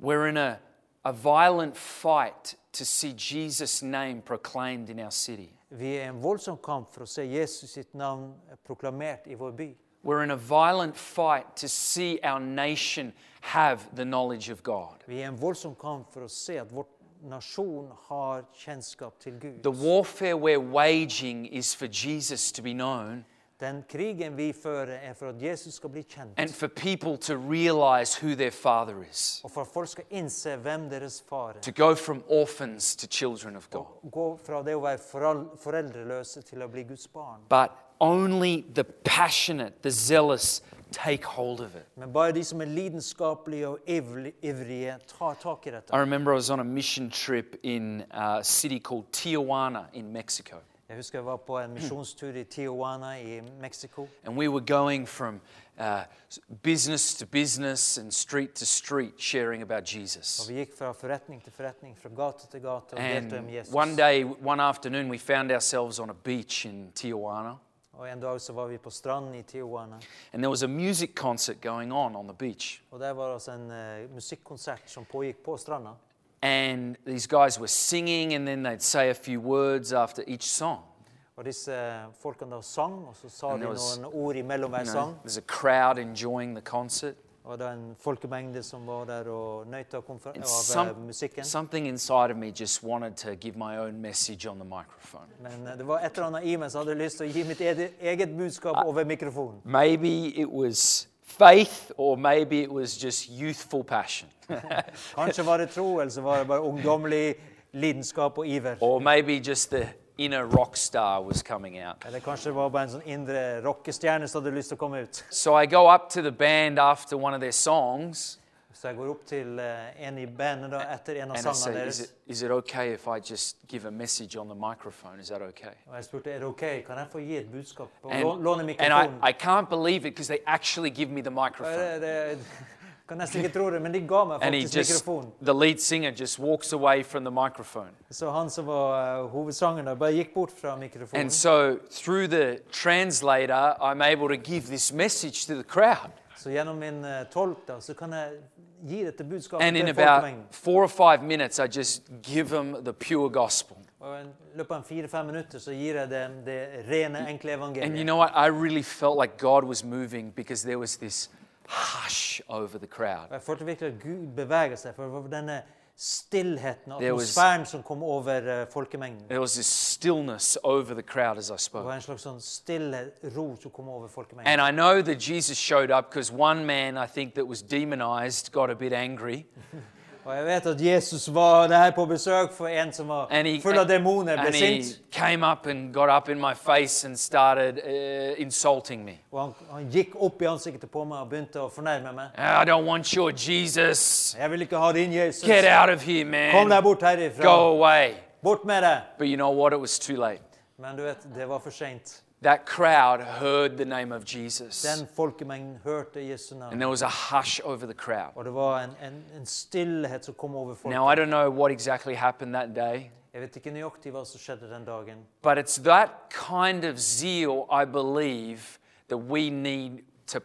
[SPEAKER 2] We're in a, a violent fight to see Jesus' name proclaimed in our city.
[SPEAKER 3] Vi er i en voldsom kamp for å se Jesus sitt navn proklamert i vår by.
[SPEAKER 2] We're in a violent fight to see our nation have the knowledge of God.
[SPEAKER 3] Vi er i en voldsom kamp for å se at vår nasjon har kjennskap til Gud.
[SPEAKER 2] The warfare we're waging is for Jesus to be known
[SPEAKER 3] Den krigen vi fører, er for at Jesus skal bli kjent,
[SPEAKER 2] and for people to realize who their Father is,
[SPEAKER 3] og for at folk skal innse hvem deres far er.
[SPEAKER 2] to go from orphans to children of God.
[SPEAKER 3] Gå fra det å være foral- foreldreløse til å bli Guds barn.
[SPEAKER 2] But only the passionate, the zealous take hold of it.
[SPEAKER 3] Men bare de som er lidenskapelige og ivli- ivrige, tar tak i dette.
[SPEAKER 2] I remember I was on a mission trip in a city called Tijuana in Mexico.
[SPEAKER 3] Jeg husker jeg var på en misjonstur i Tijuana i Mexico.
[SPEAKER 2] And we were going from uh, s- business to business and street to street sharing about Jesus.
[SPEAKER 3] Vi gikk fra forretning til forretning, fra gate til gate og delte om
[SPEAKER 2] And
[SPEAKER 3] Jesus.
[SPEAKER 2] one day, one afternoon, we found ourselves on a beach in Tijuana.
[SPEAKER 3] Og en dag så var vi på stranden i Tijuana,
[SPEAKER 2] And there was a music concert going on on the beach.
[SPEAKER 3] og der var det altså en eh, musikkonsert som pågikk på stranda.
[SPEAKER 2] And these guys were singing, and then they'd say a few words after each song.
[SPEAKER 3] Og disse eh, folkene da sang, og så sa
[SPEAKER 2] And
[SPEAKER 3] de
[SPEAKER 2] there was-
[SPEAKER 3] noen ord imellom hver
[SPEAKER 2] You know,
[SPEAKER 3] sang.
[SPEAKER 2] there's a crowd enjoying the concert.
[SPEAKER 3] Og det var en folkemengde som var der og nøt av, konfer-
[SPEAKER 2] And
[SPEAKER 3] av eh,
[SPEAKER 2] some-
[SPEAKER 3] musikken.
[SPEAKER 2] something inside of me just wanted to give my own message on the microphone.
[SPEAKER 3] Men eh, det var et eller annet i meg som hadde lyst til å gi mitt ede- eget budskap
[SPEAKER 2] Ah.
[SPEAKER 3] over mikrofonen.
[SPEAKER 2] Maybe it was faith, or maybe it was just youthful [laughs] passion,
[SPEAKER 3] Kanskje var det tro, eller så var det bare ungdommelig lidenskap og iver.
[SPEAKER 2] or maybe just the inner rock star was coming out.
[SPEAKER 3] Eller kanskje det var bare en sånn indre rockestjerne som hadde lyst til å komme ut.
[SPEAKER 2] So I go up to the band after one of their songs
[SPEAKER 3] Så jeg går opp til eh, en i bandet da, etter en av
[SPEAKER 2] and I
[SPEAKER 3] sangene
[SPEAKER 2] say, is
[SPEAKER 3] deres.
[SPEAKER 2] it, is it okay if I just give a message on the microphone? Is that okay?
[SPEAKER 3] Og jeg spurte er det ok, kan jeg få gi et budskap. Og
[SPEAKER 2] And,
[SPEAKER 3] lå- låne
[SPEAKER 2] and I,
[SPEAKER 3] mikrofonen.
[SPEAKER 2] I can't believe it because they actually give me the
[SPEAKER 3] Ja,
[SPEAKER 2] microphone.
[SPEAKER 3] det, [laughs] det, kan nesten ikke tro det, men de ga meg
[SPEAKER 2] [laughs] And he
[SPEAKER 3] faktisk
[SPEAKER 2] just,
[SPEAKER 3] mikrofonen.
[SPEAKER 2] the lead singer just walks away from the microphone.
[SPEAKER 3] Så han som var uh, hovedsangeren, da, bare gikk bort fra mikrofonen.
[SPEAKER 2] And so through the translator, I'm able to give this message to the crowd.
[SPEAKER 3] Så gjennom min eh, tolk da, så kan jeg gi dette budskapet
[SPEAKER 2] And in
[SPEAKER 3] til
[SPEAKER 2] about
[SPEAKER 3] folkemengden.
[SPEAKER 2] four or five minutes, I just give them the pure gospel.
[SPEAKER 3] Og I løpet av fire-fem minutter så gir jeg dem det rene, enkle
[SPEAKER 2] And you
[SPEAKER 3] evangeliet.
[SPEAKER 2] know what? I really felt like God was moving because there was this hush over the
[SPEAKER 3] Og
[SPEAKER 2] crowd.
[SPEAKER 3] jeg følte virkelig at Gud beveger seg, for det var denne stillheten og
[SPEAKER 2] There was-
[SPEAKER 3] atmosfæren som kom over eh, folkemengden.
[SPEAKER 2] There was this stillness over the crowd as I
[SPEAKER 3] Det
[SPEAKER 2] spoke.
[SPEAKER 3] var en slags sånn stille ro som kom over
[SPEAKER 2] And
[SPEAKER 3] folkemengden.
[SPEAKER 2] I know that Jesus showed up because one man, I think, that was demonized got a bit angry.
[SPEAKER 3] Og jeg vet at Jesus var der på besøk for en som var
[SPEAKER 2] And he,
[SPEAKER 3] full av demoner, ble
[SPEAKER 2] and he
[SPEAKER 3] sint.
[SPEAKER 2] came up and got up in my face and started uh, insulting me.
[SPEAKER 3] Og han, han gikk opp i ansiktet på meg og begynte å fornærme meg.
[SPEAKER 2] "Ah, I don't want your Jesus.
[SPEAKER 3] Jeg vil ikke ha din Jesus.
[SPEAKER 2] Get out of here,
[SPEAKER 3] Kom deg
[SPEAKER 2] man.
[SPEAKER 3] bort herifra.
[SPEAKER 2] Go away.
[SPEAKER 3] Bort med deg!
[SPEAKER 2] But you know what? It was too late.
[SPEAKER 3] Men du vet, det var for seint.
[SPEAKER 2] That crowd heard the name of Jesus.
[SPEAKER 3] Den folkemengden hørte Jesu
[SPEAKER 2] And
[SPEAKER 3] navn.
[SPEAKER 2] there was a hush over the crowd.
[SPEAKER 3] Og det var en, en, en stillhet som kom over folk.
[SPEAKER 2] Now, I don't know what exactly happened that day,
[SPEAKER 3] Jeg vet ikke nøyaktig hva som skjedde den dagen.
[SPEAKER 2] but it's that kind of zeal, I believe, that we need to,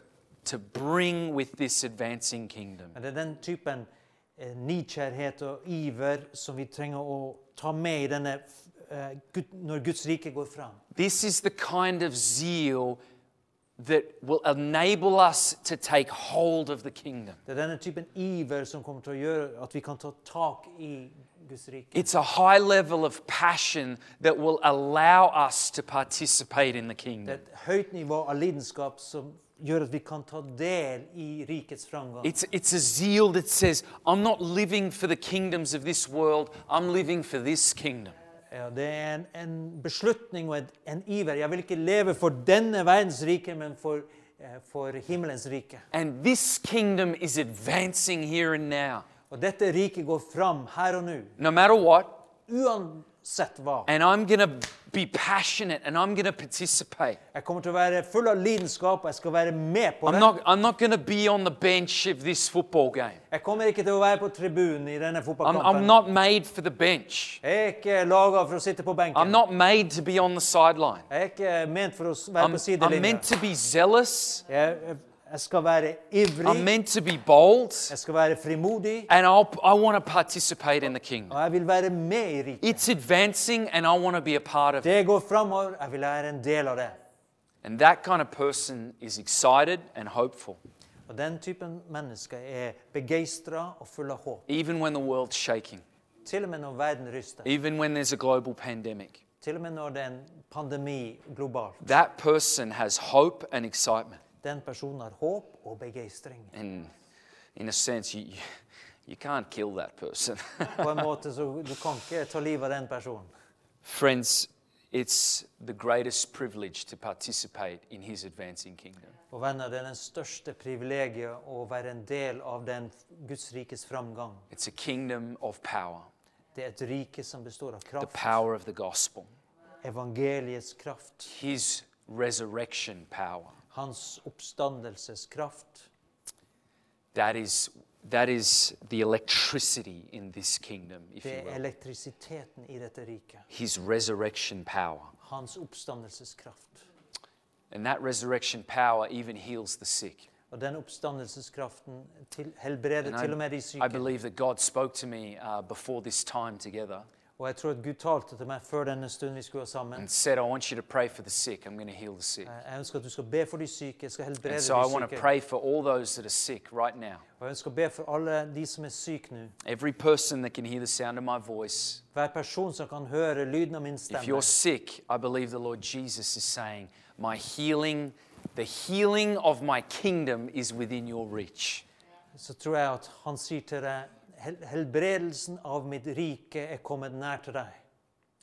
[SPEAKER 2] to bring with this advancing kingdom.
[SPEAKER 3] Men det er den typen eh, nidkjærhet og iver som vi trenger å ta med i denne eh, Gud, når Guds rike går fram.
[SPEAKER 2] This is the kind of zeal that will enable us to take hold of the kingdom.
[SPEAKER 3] Det er denne typen iver som kommer til å gjøre at vi kan ta tak i Guds rike.
[SPEAKER 2] It's a high level of passion that will allow us to participate in the
[SPEAKER 3] Det
[SPEAKER 2] kingdom.
[SPEAKER 3] er et høyt nivå av lidenskap som gjør at vi kan ta del i rikets framgang.
[SPEAKER 2] It's, it's a zeal that says, I'm not living for the kingdoms of this world, I'm living for this kingdom.
[SPEAKER 3] Ja, det er en, en beslutning og en, en iver. Jeg vil ikke leve for denne verdens rike, men for, eh, for himmelens rike.
[SPEAKER 2] And this kingdom is advancing here and now,
[SPEAKER 3] Og dette riket går fram her og nå,
[SPEAKER 2] no matter what.
[SPEAKER 3] uansett hva.
[SPEAKER 2] And I'm going to be passionate and I'm going to participate.
[SPEAKER 3] Jeg kommer til å være full av lidenskap, og jeg skal være med på
[SPEAKER 2] I'm
[SPEAKER 3] det.
[SPEAKER 2] not, I'm not going to be on the bench of this football game.
[SPEAKER 3] Jeg kommer ikke til å være på tribunen i denne
[SPEAKER 2] I'm,
[SPEAKER 3] fotballkampen.
[SPEAKER 2] I'm not made for the bench.
[SPEAKER 3] Jeg er ikke laga for å sitte på benken.
[SPEAKER 2] I'm not made to be on the sideline.
[SPEAKER 3] Jeg er ikke ment for å s- være
[SPEAKER 2] I'm,
[SPEAKER 3] på
[SPEAKER 2] I'm
[SPEAKER 3] sidelinja.
[SPEAKER 2] meant to be zealous.
[SPEAKER 3] Jeg, jeg skal være ivrig,
[SPEAKER 2] I'm meant to be bold.
[SPEAKER 3] jeg skal være frimodig,
[SPEAKER 2] And I'll, I want to participate in the kingdom.
[SPEAKER 3] og jeg vil være med i riket.
[SPEAKER 2] It's advancing and I want to be a part of it.
[SPEAKER 3] Det går framover, jeg vil være en del av det.
[SPEAKER 2] And that kind of person is excited and hopeful,
[SPEAKER 3] Og Den typen mennesker er begeistra og full av håp.
[SPEAKER 2] even when the world's shaking,
[SPEAKER 3] Til og med når verden ryster,
[SPEAKER 2] even when there's a global pandemic.
[SPEAKER 3] til og med når det er en pandemi globalt.
[SPEAKER 2] That person has hope and excitement.
[SPEAKER 3] Den personen har håp og begeistring.
[SPEAKER 2] And in a sense, you, you, you can't kill that person. [laughs]
[SPEAKER 3] På en måte så Du kan ikke ta livet av den personen.
[SPEAKER 2] Friends, it's the greatest privilege to participate in his advancing kingdom.
[SPEAKER 3] Og venner, det er den største privilegiet å være en del av den Guds rikes framgang.
[SPEAKER 2] It's a kingdom of power,
[SPEAKER 3] Det er et rike som består av
[SPEAKER 2] the
[SPEAKER 3] kraft,
[SPEAKER 2] power of the gospel,
[SPEAKER 3] evangeliets kraft,
[SPEAKER 2] his resurrection power.
[SPEAKER 3] hans oppstandelseskraft.
[SPEAKER 2] That is, that is the electricity in this kingdom, if
[SPEAKER 3] Det
[SPEAKER 2] you
[SPEAKER 3] er
[SPEAKER 2] will.
[SPEAKER 3] elektrisiteten i dette riket.
[SPEAKER 2] His resurrection power.
[SPEAKER 3] Hans oppstandelseskraft.
[SPEAKER 2] And that resurrection power even heals the sick.
[SPEAKER 3] Og den oppstandelseskraften til, helbreder
[SPEAKER 2] And
[SPEAKER 3] til og med
[SPEAKER 2] I,
[SPEAKER 3] de
[SPEAKER 2] I
[SPEAKER 3] syke.
[SPEAKER 2] believe that God spoke to me uh, before this time together
[SPEAKER 3] Og jeg tror at Gud talte til meg før denne stunden vi skulle være sammen.
[SPEAKER 2] and said, I want you to pray for the sick. I'm going to heal the sick.
[SPEAKER 3] Eh, Jeg ønsker at du skal be for de syke. Jeg skal helbrede
[SPEAKER 2] And
[SPEAKER 3] de
[SPEAKER 2] so eh? I want to
[SPEAKER 3] syke.
[SPEAKER 2] pray for all those that are sick right now.
[SPEAKER 3] Og jeg ønsker å be for alle de som er syke nå.
[SPEAKER 2] Every person that can hear the sound of my voice.
[SPEAKER 3] Hver person som kan høre lyden av min
[SPEAKER 2] If you're
[SPEAKER 3] stemme.
[SPEAKER 2] sick, I believe the Lord Jesus is saying, My healing, the healing of my kingdom is within your reach.
[SPEAKER 3] så tror jeg at han sier til deg "Hel- helbredelsen av mitt rike er kommet nær til deg.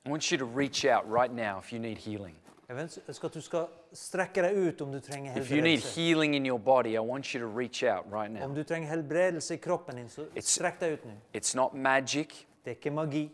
[SPEAKER 2] I want you to reach out right now if you need healing.
[SPEAKER 3] Jeg øns- ønsker at du skal strekke deg ut om du trenger
[SPEAKER 2] If you need
[SPEAKER 3] helbredelse.
[SPEAKER 2] healing in your body, I want you to reach out right now.
[SPEAKER 3] Om du trenger helbredelse i kroppen din, så
[SPEAKER 2] It's-
[SPEAKER 3] strekk deg ut nå.
[SPEAKER 2] It's not magic,
[SPEAKER 3] Det er ikke magi.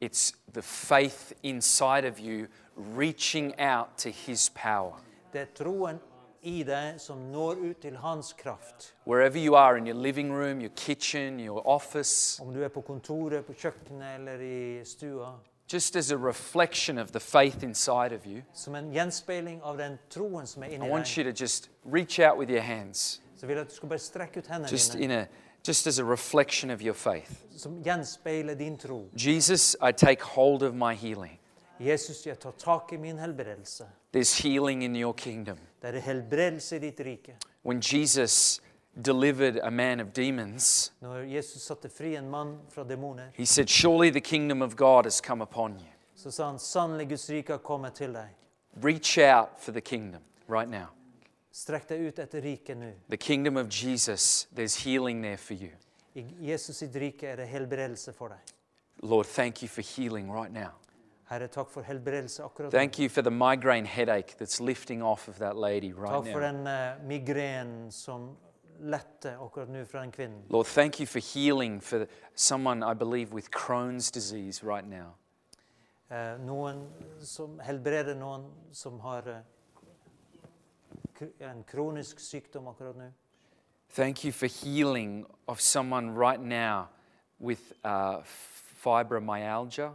[SPEAKER 2] it's the faith inside of you reaching out to His power.
[SPEAKER 3] Det er troen i deg som når ut til hans kraft.
[SPEAKER 2] Wherever you are in your living room, your kitchen, your office,
[SPEAKER 3] Om du er på kontoret, på kjøkkenet eller i stua.
[SPEAKER 2] just as a reflection of the faith inside of you,
[SPEAKER 3] Som en gjenspeiling av den troen som er
[SPEAKER 2] I
[SPEAKER 3] inni
[SPEAKER 2] want
[SPEAKER 3] deg.
[SPEAKER 2] you to just reach out with your hands,
[SPEAKER 3] Så vil jeg at du skal bare strekke ut hendene
[SPEAKER 2] just
[SPEAKER 3] dine,
[SPEAKER 2] in a just as a reflection of your faith.
[SPEAKER 3] som gjenspeiler din tro.
[SPEAKER 2] Jesus, I take hold of my healing.
[SPEAKER 3] Jesus, jeg tar tak i min helbredelse.
[SPEAKER 2] There's healing in your kingdom.
[SPEAKER 3] Det er helbredelse i ditt rike.
[SPEAKER 2] When Jesus delivered a man of demons,
[SPEAKER 3] Når Jesus satte fri en mann fra demoner,
[SPEAKER 2] he said, Surely the kingdom of God has come upon you.
[SPEAKER 3] så sa han sannelig Guds rike har kommet til deg.
[SPEAKER 2] Reach out for the kingdom right now.
[SPEAKER 3] Strekk deg ut etter riket nå.
[SPEAKER 2] The kingdom of Jesus, there's healing there for you.
[SPEAKER 3] I Jesus sitt rike er det helbredelse for deg.
[SPEAKER 2] Lord, thank you for healing right now.
[SPEAKER 3] Herre, takk for helbredelse akkurat nå.
[SPEAKER 2] Thank you for the migraine headache that's lifting off of that lady right
[SPEAKER 3] Takk for
[SPEAKER 2] now.
[SPEAKER 3] den eh, migrenen som letter akkurat nå fra den kvinnen.
[SPEAKER 2] Lord, thank you for healing for someone, I believe, with Crohn's disease right now.
[SPEAKER 3] Eh, noen som helbreder noen som har eh, kr- en kronisk sykdom akkurat nå.
[SPEAKER 2] Thank you for healing of someone right now with uh, fibromyalgia,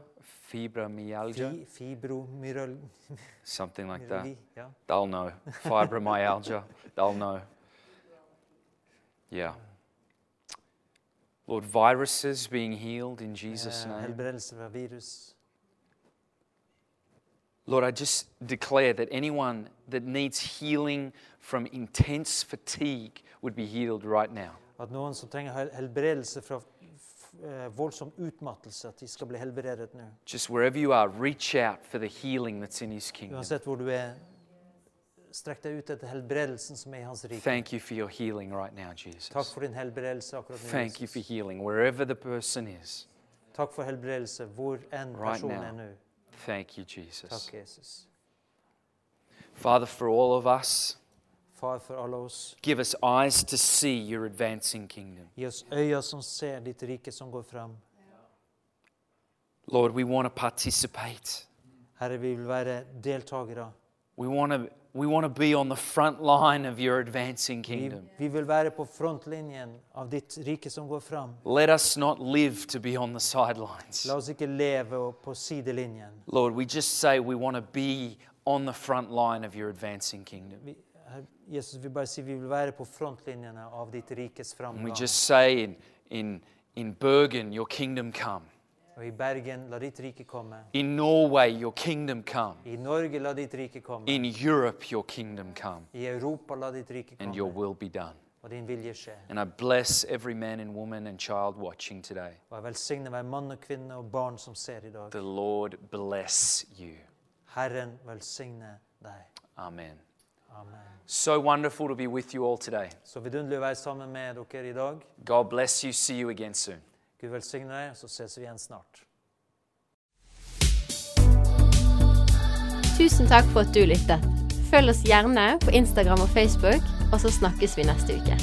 [SPEAKER 2] fibromyalgia,
[SPEAKER 3] Fi, fibromyralgi.
[SPEAKER 2] something like that.
[SPEAKER 3] Ja.
[SPEAKER 2] They'll know.
[SPEAKER 3] [laughs]
[SPEAKER 2] Fibromyalgia, they'll know. Yeah. Lord, viruses being healed in Jesus'
[SPEAKER 3] Eh,
[SPEAKER 2] name.
[SPEAKER 3] helbredelse fra virus.
[SPEAKER 2] Lord, I just declare that anyone that needs healing from intense fatigue would be healed right now.
[SPEAKER 3] At noen som trenger hel- helbredelse fra f- eh, voldsom utmattelse, at de skal bli helbredet nå.
[SPEAKER 2] Just wherever you are, reach out for the healing that's in His kingdom.
[SPEAKER 3] Uansett hvor du er, strekk deg ut etter helbredelsen som er i Hans rike.
[SPEAKER 2] Thank you for your healing right now, Jesus.
[SPEAKER 3] Takk for din helbredelse akkurat nå.
[SPEAKER 2] Thank you for
[SPEAKER 3] Jesus.
[SPEAKER 2] healing wherever the person is.
[SPEAKER 3] Takk for helbredelse hvor enn
[SPEAKER 2] Right
[SPEAKER 3] personen
[SPEAKER 2] now.
[SPEAKER 3] er nå.
[SPEAKER 2] Thank you, Jesus.
[SPEAKER 3] Takk, Jesus.
[SPEAKER 2] Father, for all of us,
[SPEAKER 3] Far for alle oss,
[SPEAKER 2] give us eyes to see your advancing kingdom.
[SPEAKER 3] gi oss øyne som ser ditt rike som går fram.
[SPEAKER 2] Lord, we want to participate.
[SPEAKER 3] Herre, vi vil være deltakere.
[SPEAKER 2] We want to, we want to be on the front line of your advancing
[SPEAKER 3] Vi,
[SPEAKER 2] kingdom.
[SPEAKER 3] vi vil være på frontlinjen av ditt rike som går fram.
[SPEAKER 2] Let us not live to be on the sidelines.
[SPEAKER 3] La oss ikke leve og- på sidelinjen.
[SPEAKER 2] Lord, we just say we want to be on the front line of your advancing kingdom.
[SPEAKER 3] Vi, Herre, Jesus, vi bare sier vi vil være på frontlinjene av ditt rikes
[SPEAKER 2] And we
[SPEAKER 3] framgang.
[SPEAKER 2] just say in, in, in Bergen, your kingdom come.
[SPEAKER 3] Og I Bergen, la ditt rike komme.
[SPEAKER 2] In Norway, your kingdom come.
[SPEAKER 3] I Norge, la ditt rike komme.
[SPEAKER 2] In Europe, your kingdom come.
[SPEAKER 3] I Europa, la ditt rike
[SPEAKER 2] And your
[SPEAKER 3] komme.
[SPEAKER 2] will be done.
[SPEAKER 3] Og din vilje skje.
[SPEAKER 2] And I bless every man and woman and child watching today.
[SPEAKER 3] Og jeg velsigner hver mann og kvinne og barn som ser i dag.
[SPEAKER 2] The Lord bless you.
[SPEAKER 3] Herren velsigne deg.
[SPEAKER 2] Amen.
[SPEAKER 3] Amen.
[SPEAKER 2] So wonderful to be with you all today.
[SPEAKER 3] Så vidunderlig å være sammen med dere i dag.
[SPEAKER 2] God bless you. See you again soon.
[SPEAKER 3] Gud velsigne deg, så ses vi igjen snart.
[SPEAKER 1] Tusen takk for at du lyttet. Følg oss gjerne på Instagram og Facebook, og så snakkes vi neste uke.